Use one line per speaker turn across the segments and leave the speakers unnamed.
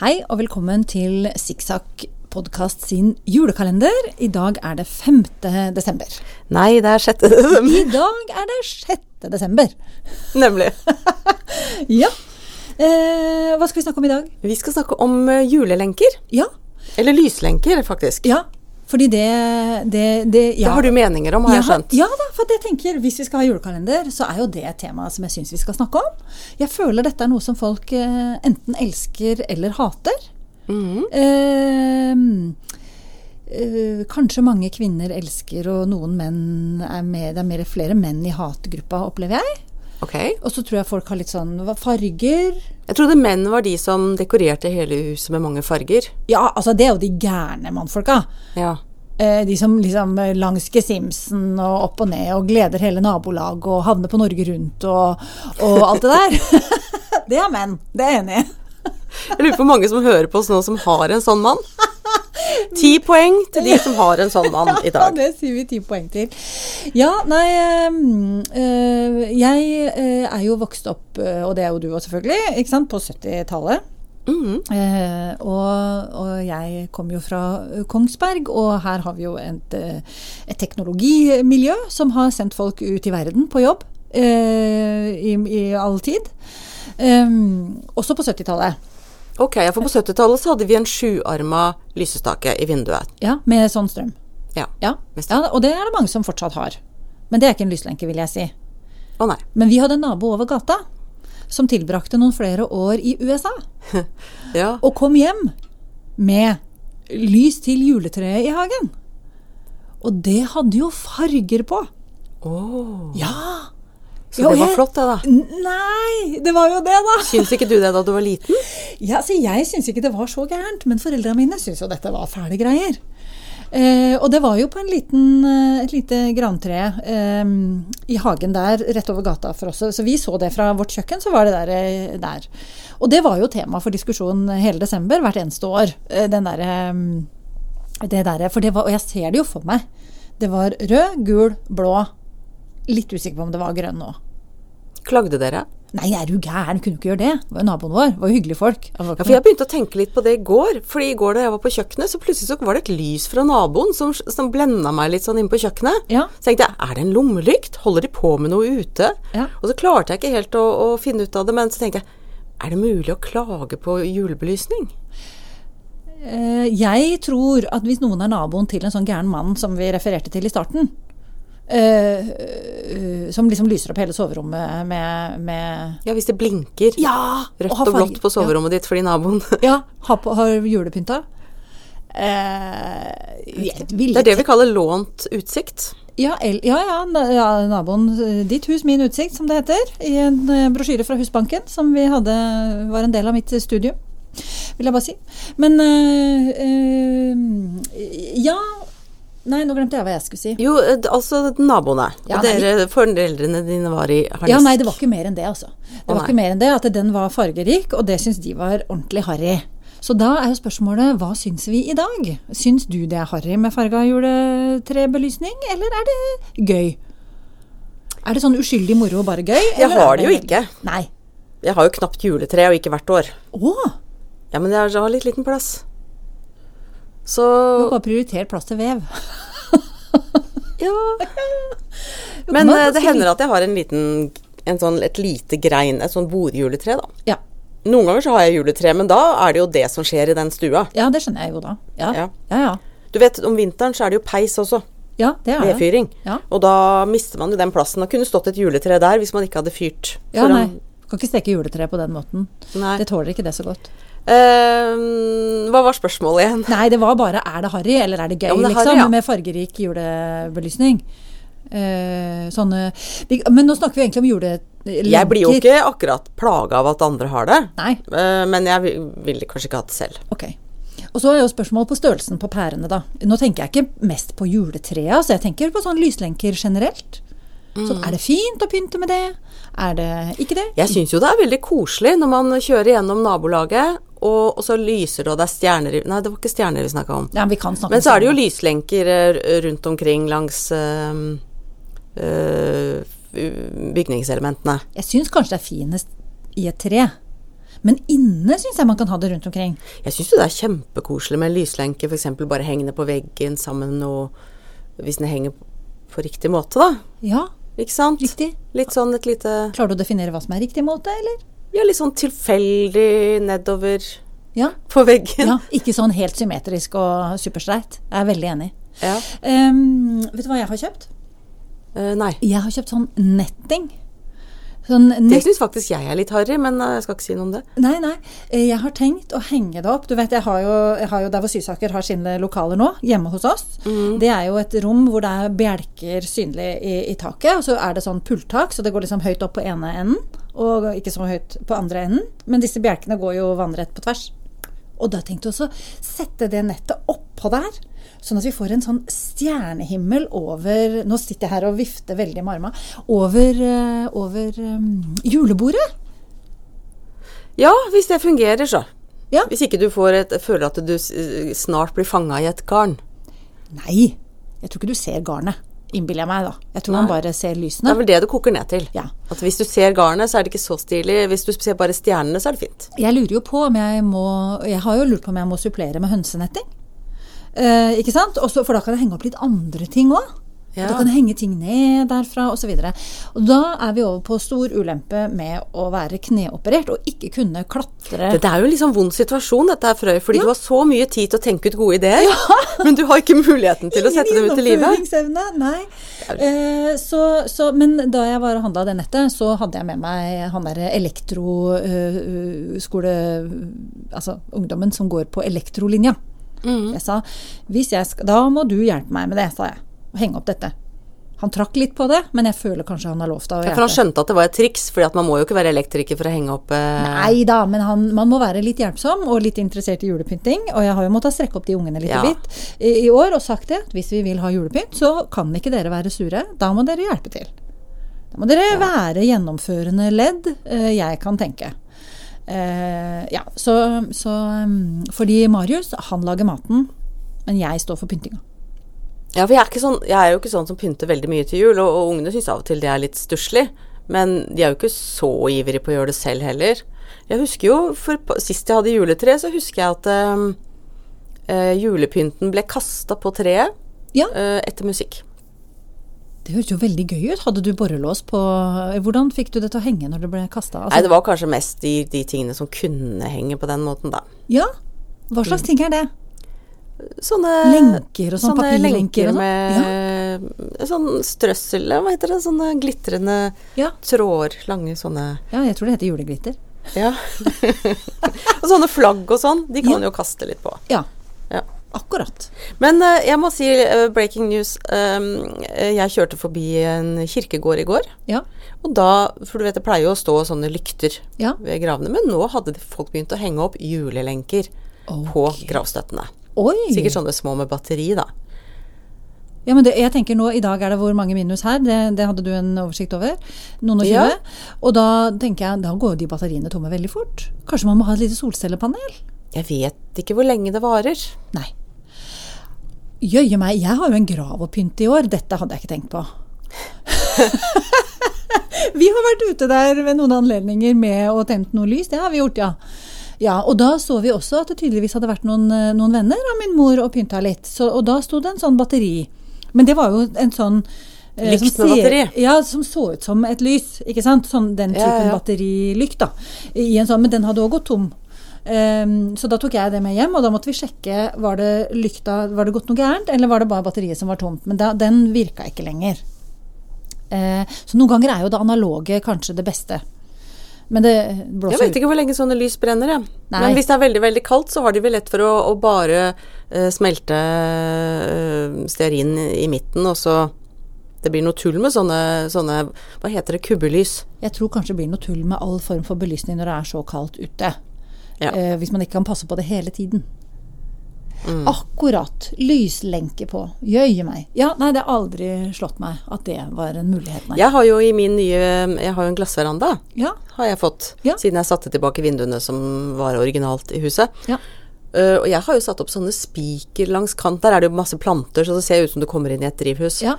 Hei og velkommen til Sikksakk podkast sin julekalender. I dag er det 5. desember.
Nei, det er 6. desember.
I dag er det 6. desember.
Nemlig.
Ja. Eh, hva skal vi snakke om i dag?
Vi skal snakke om eh, julelenker.
Ja.
Eller lyslenker, faktisk.
ja. Fordi det, det, det ja.
Det har du meninger om, har jeg skjønt.
Ja, da, for at jeg tenker, Hvis vi skal ha julekalender, så er jo det et tema som jeg syns vi skal snakke om. Jeg føler dette er noe som folk eh, enten elsker eller hater.
Mhm.
Eh, eh, kanskje mange kvinner elsker, og noen menn er mer, det er mer, flere menn i hatgruppa, opplever jeg.
Ok.
Og så tror jeg folk har litt sånn hva- farger
Jeg trodde menn var de som dekorerte hele huset med mange farger.
Ja, altså, det er jo de gærne mannfolka.
Ja.
Eh, De som liksom eh, langs gesimsen og opp og ned og gleder hele nabolaget og havner på Norge Rundt og, og alt det der. det er menn, det er jeg enig i.
Jeg lurer på hvor mange som hører på oss nå som har en sånn mann. Ti poeng til de som har en sånn mann i
Ja,
dag.
det sier vi ti poeng til. Ja, nei eh, eh, Jeg eh, er jo vokst opp, eh, og det er jo du òg selvfølgelig, ikke sant, på 70-tallet.
Mhm.
Eh, og, og jeg kommer jo fra eh, Kongsberg, og her har vi jo et, eh, et teknologimiljø som har sendt folk ut i verden på jobb eh, i, i all tid. Ehm, også på 70-tallet.
Ok, ja, for på 70-tallet så hadde vi en sjuarma lysestake i vinduet.
Ja, med sånn strøm.
Ja.
Ja.
Med
ja, og det er det mange som fortsatt har. Men det er ikke en lyslenke, vil jeg si.
Å nei.
Men vi hadde en nabo over gata som tilbrakte noen flere år i USA,
Ja.
og kom hjem med lys til juletreet i hagen. Og det hadde jo farger på!
Åh.
Ja!
Så
Ja, og
det var
jeg-
flott, det, da.
Nei, det var jo det, da!
Syns ikke du det da du var liten?
Ja, så jeg syns ikke det var så gærent, men foreldrene mine syns jo dette var fæle greier. Eh, og det var jo på en liten, eh, et lite grantre eh, i hagen der rett over gata for oss. Så vi så det fra vårt kjøkken, så var det der. eh, der. Og det var jo tema for diskusjon hele desember, hvert eneste år. eh, Den der, eh, det der, for det var, og jeg ser det jo for meg. Det var rød, gul, blå. Litt usikker på om det var grønn nå.
Klagde dere?
Nei, er du gæren? Kunne ikke gjøre det. Det var jo naboen vår. Det var jo hyggelige folk. Det var
Ja,
ikke
for jeg begynte å tenke litt på det i går. Fordi i går da jeg var på kjøkkenet, så plutselig så var det et lys fra naboen som, som blenda meg litt sånn inne på kjøkkenet.
Ja.
Så tenkte jeg, er det en lommelykt? Holder de på med noe ute?
Ja.
Og så klarte jeg ikke helt å, å finne ut av det, men så tenkte jeg, er det mulig å klage på julebelysning?
Eh, Jeg tror at hvis noen er naboen til en sånn gæren mann som vi refererte til i starten, eh, eh, som liksom lyser opp hele soverommet med, med
Ja, hvis det blinker
Ja!
rødt og, blått på soverommet ditt fordi naboen
Ja, ja har, på, har julepynta. Eh, jeg vil
Det er det
ikke
vi kaller lånt utsikt.
ja, el, ja, ja, na- ja, naboen. eh, Ditt hus, min utsikt, som det heter. I en eh, brosjyre fra Husbanken som vi hadde, var en del av mitt eh, studium. Vil jeg bare si. Men eh, eh, Ja. Nei, nå glemte jeg hva jeg skulle si.
Jo, eh, altså naboene.
Ja,
og dere, foreldrene dine var i harnisk.
Ja, nei, det var ikke mer enn det, altså. Det var
nei.
ikke mer enn det At den var fargerik, og det syns de var ordentlig harry. Så da er jo spørsmålet hva syns vi i dag? Syns du det er harry med farga juletrebelysning, eller er det gøy? Er det sånn uskyldig moro og bare gøy? eller
har
er
det jo ikke.
Nei.
Jeg har jo knapt juletre, og ikke hvert år.
Å!
Ja, men jeg har litt liten plass. Så
Du har bare prioritert plass til vev.
ja. Men
man
eh,
kan
det
si
hender at jeg har en liten, en sånn, et lite grein, et sånn bordjuletre, da.
Ja.
Noen ganger så har jeg juletre, men da er det jo det som skjer i den stua.
ja, det skjønner jeg jo da. Ja, ja.
Ja.
Ja,
Du vet, om vinteren så er det jo peis også.
ja det er det.
Vedfyring.
Ja.
Og da mister man jo den plassen. Da kunne stått et juletre der hvis man ikke hadde fyrt.
Ja,
foran-
nei. Kan ikke steke juletre på den måten.
Nei.
Det tåler ikke det så godt.
Eh, hva var spørsmålet igjen?
Nei, det var bare er det harry, eller er det gøy,
Ja, men det er
liksom,
harry, ja.
med fargerik julebelysning. Eh, sånne vi- Men nå snakker vi egentlig om jule...
Jeg blir jo ikke akkurat plaga av at andre har det.
Nei.
Eh, men jeg vil- ville kanskje ikke hatt det selv.
Ok. Og så er jo spørsmålet på størrelsen på pærene, da. Nå tenker jeg ikke mest på juletreet, altså jeg tenker på sånn lyslenker generelt.
Mm.
Sånn, er det fint å pynte med det? Er det ikke det?
Jeg syns jo det er veldig koselig når man kjører gjennom nabolaget, og, og så lyser det, og det er stjerner i- Nei, det var ikke stjerner vi snakka om.
Ja, men vi kan snakke
Men
om
så er det jo
sånn.
lyslenker eh, rundt omkring langs eh, eh, bygningselementene.
Jeg syns kanskje det er finest i et tre. Men inne syns jeg man kan ha det rundt omkring.
Jeg syns jo det er kjempekoselig med en lyslenke, f.eks. bare hengende på veggen sammen med noe Hvis den henger på riktig måte, da.
Ja,
Ikke sant?
riktig.
Litt sånn et lite
Klarer du å definere hva som er riktig måte, eller?
Ja, litt sånn tilfeldig nedover
Ja.
på veggen.
ja ikke sånn helt symmetrisk og superstreit. Jeg er veldig enig.
Ja.
Ehm, vet du hva jeg har kjøpt?
Eh, nei.
Jeg har kjøpt sånn netting. Sånn
Det
nett...
syns faktisk jeg er litt harry, men eh, jeg skal ikke si noe om det.
Nei, nei. Eh, Jeg har tenkt å henge det opp. Du vet, jeg har jo, jeg har jo der hvor Sysaker har sine lokaler nå, hjemme hos oss. Det er jo et rom hvor det er bjelker synlig i, i taket. Og så er det sånn pulttak, så det går liksom høyt opp på ene enden. Og ikke så høyt på andre enden. Men disse bjelkene går jo vannrett på tvers. Og da tenkte jeg også sette det nettet oppå der, sånn at vi får en sånn stjernehimmel over Nå sitter jeg her og vifter veldig med arma. Over, eh, over eh, julebordet.
Ja, hvis det fungerer, så.
Ja.
Hvis ikke du får et, føler at du s- eh, snart blir fanga i et garn.
Nei, jeg tror ikke du ser garnet, innbiller jeg meg da. Jeg tror man bare ser
Det
lysene.
er vel det det koker ned til.
Ja.
At hvis du ser garnet, så er det ikke så stilig. Hvis du ser bare stjernene, så er det fint.
Jeg lurer jo på om jeg må Jeg har jo lurt på om jeg må supplere med hønsenetting. Eh, ikke sant? Også, for da kan jeg henge opp litt andre ting òg.
Ja.
Da kan jeg henge ting ned derfra osv. Da er vi over på stor ulempe med å være kneoperert og ikke kunne klatre.
Dette er jo en litt sånn vond situasjon, dette her, Frøy, fordi du har så mye tid til å tenke ut gode ideer, men du har ikke muligheten til å sette dem ut i livet.
Gjennomføringsevne, nei. Eh, så, så, men da jeg var og handla det nettet, så hadde jeg med meg han derre elektroskole... altså ungdommen som går på elektrolinja.
Mm.
Jeg sa hvis jeg skal, da må du hjelpe meg med det, sa jeg. Og henge opp dette. Han trakk litt på det, men jeg føler kanskje han har lovt deg å
Ja, For han skjønte at det var et triks, fordi at man må jo ikke være elektriker for å henge opp eh,
Nei da, men han, man må være litt hjelpsom og litt interessert i julepynting. Og jeg har jo måttet strekke opp de ungene litt
Ja.
i bit i, i år og sagt det. at Hvis vi vil ha julepynt, så kan ikke dere være sure. Da må dere hjelpe til. Da må dere være gjennomførende ledd. eh, Jeg kan tenke. Eh, ja, så, så mm, Fordi Marius, han lager maten, men jeg står for pyntinga.
Ja, for jeg er, ikke sånn, jeg er jo ikke sånn som pynter veldig mye til jul, og, og ungene syns av og til det er litt stusslig. Men de er jo ikke så ivrige på å gjøre det selv heller. Jeg husker jo, for på- Sist jeg hadde juletre, så husker jeg at ehm, eh, julepynten ble kasta på treet
Ja.
eh, etter musikk.
Det høres jo veldig gøy ut. Hadde du borrelås på eh, Hvordan fikk du det til å henge når det ble Altså, kasta?
Nei, det var kanskje mest de, de tingene som kunne henge på den måten, da.
ja? Hva
Mm.
slags ting er det?
Sånne
Lenker og sånn, papirlenker og sånn.
med sånn strøssel, hva heter det, sånne glitrende
Ja.
tråder, lange sånne
Ja, jeg tror det heter juleglitter.
Ja. og sånne flagg og sånn, de kan man jo kaste litt på.
Ja,
Ja.
akkurat.
Men eh, jeg må si eh, breaking news. ehm, eh, jeg kjørte forbi en kirkegård i går.
Ja.
Og da, for du vet det pleier jo å stå sånne lykter
Ja.
ved gravene, men nå hadde de- folk begynt å henge opp julelenker på gravstøttene.
Oi!
Sikkert sånne små med batteri, da.
Ja, men det, jeg tenker nå, I dag er det hvor mange minus her, det, det hadde du en oversikt over. Noen og tjue.
Ja.
Og da tenker jeg, da går jo de batteriene tomme veldig fort. Kanskje man må ha et lite solcellepanel?
Jeg vet ikke hvor lenge det varer.
Nei. Jøye meg, jeg har jo en grav å pynte i år. Dette hadde jeg ikke tenkt på. vi har vært ute der ved noen anledninger med å tent noe lys. Det har vi gjort, ja. Ja, Og da så vi også at det tydeligvis hadde vært noen, eh, noen venner av min mor og pynta litt. Så, og da sto det en sånn batteri. Men det var jo en sånn eh,
Lykt
som
med
ser-
batteri.
Ja, som så ut som et lys. ikke sant? Sånn den
Ja,
typen
ja, ja.
batterilykt, da. I en sånn, men den hadde òg gått tom. Ehm, så da tok jeg det med hjem, og da måtte vi sjekke var det lykta, var det gått noe gærent, eller var det bare batteriet som var tomt. Men da, den virka ikke lenger. Eh, så noen ganger er jo det analoge kanskje det beste. Men det blåser
Jeg vet ikke hvor lenge sånne lys brenner, jeg.
Nei.
Men hvis det er veldig veldig kaldt, så har de vel lett for å, å bare eh, smelte uh, stearin i midten, og så Det blir noe tull med sånne, sånne Hva heter det? Kubbelys.
Jeg tror kanskje det blir noe tull med all form for belysning når det er så kaldt ute.
Ja.
Eh, hvis man ikke kan passe på det hele tiden. Akkurat. Lyslenke på. Jøye meg. Ja, nei, det har aldri slått meg at det var en mulighet, nei.
Jeg har jo i min nye Jeg har jo en glassveranda,
Ja.
har jeg fått.
Ja.
Siden jeg satte tilbake vinduene som var originalt i huset.
Ja.
Eh, og jeg har jo satt opp sånne spiker langs kant. Der er det jo masse planter, så det ser ut som du kommer inn i et drivhus.
ja.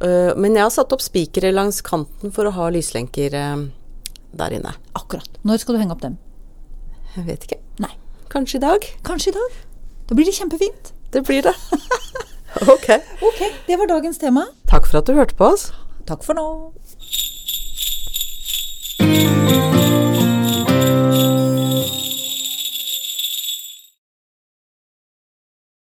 Eh, men jeg har satt opp spikere langs kanten for å ha lyslenker eh, der inne.
Akkurat. Når skal du henge opp dem?
Jeg vet ikke.
Nei.
Kanskje i dag.
Kanskje i dag. Da blir det kjempefint.
Det blir det. ok.
Ok, det var dagens tema.
Takk for at du hørte på oss.
Takk for nå.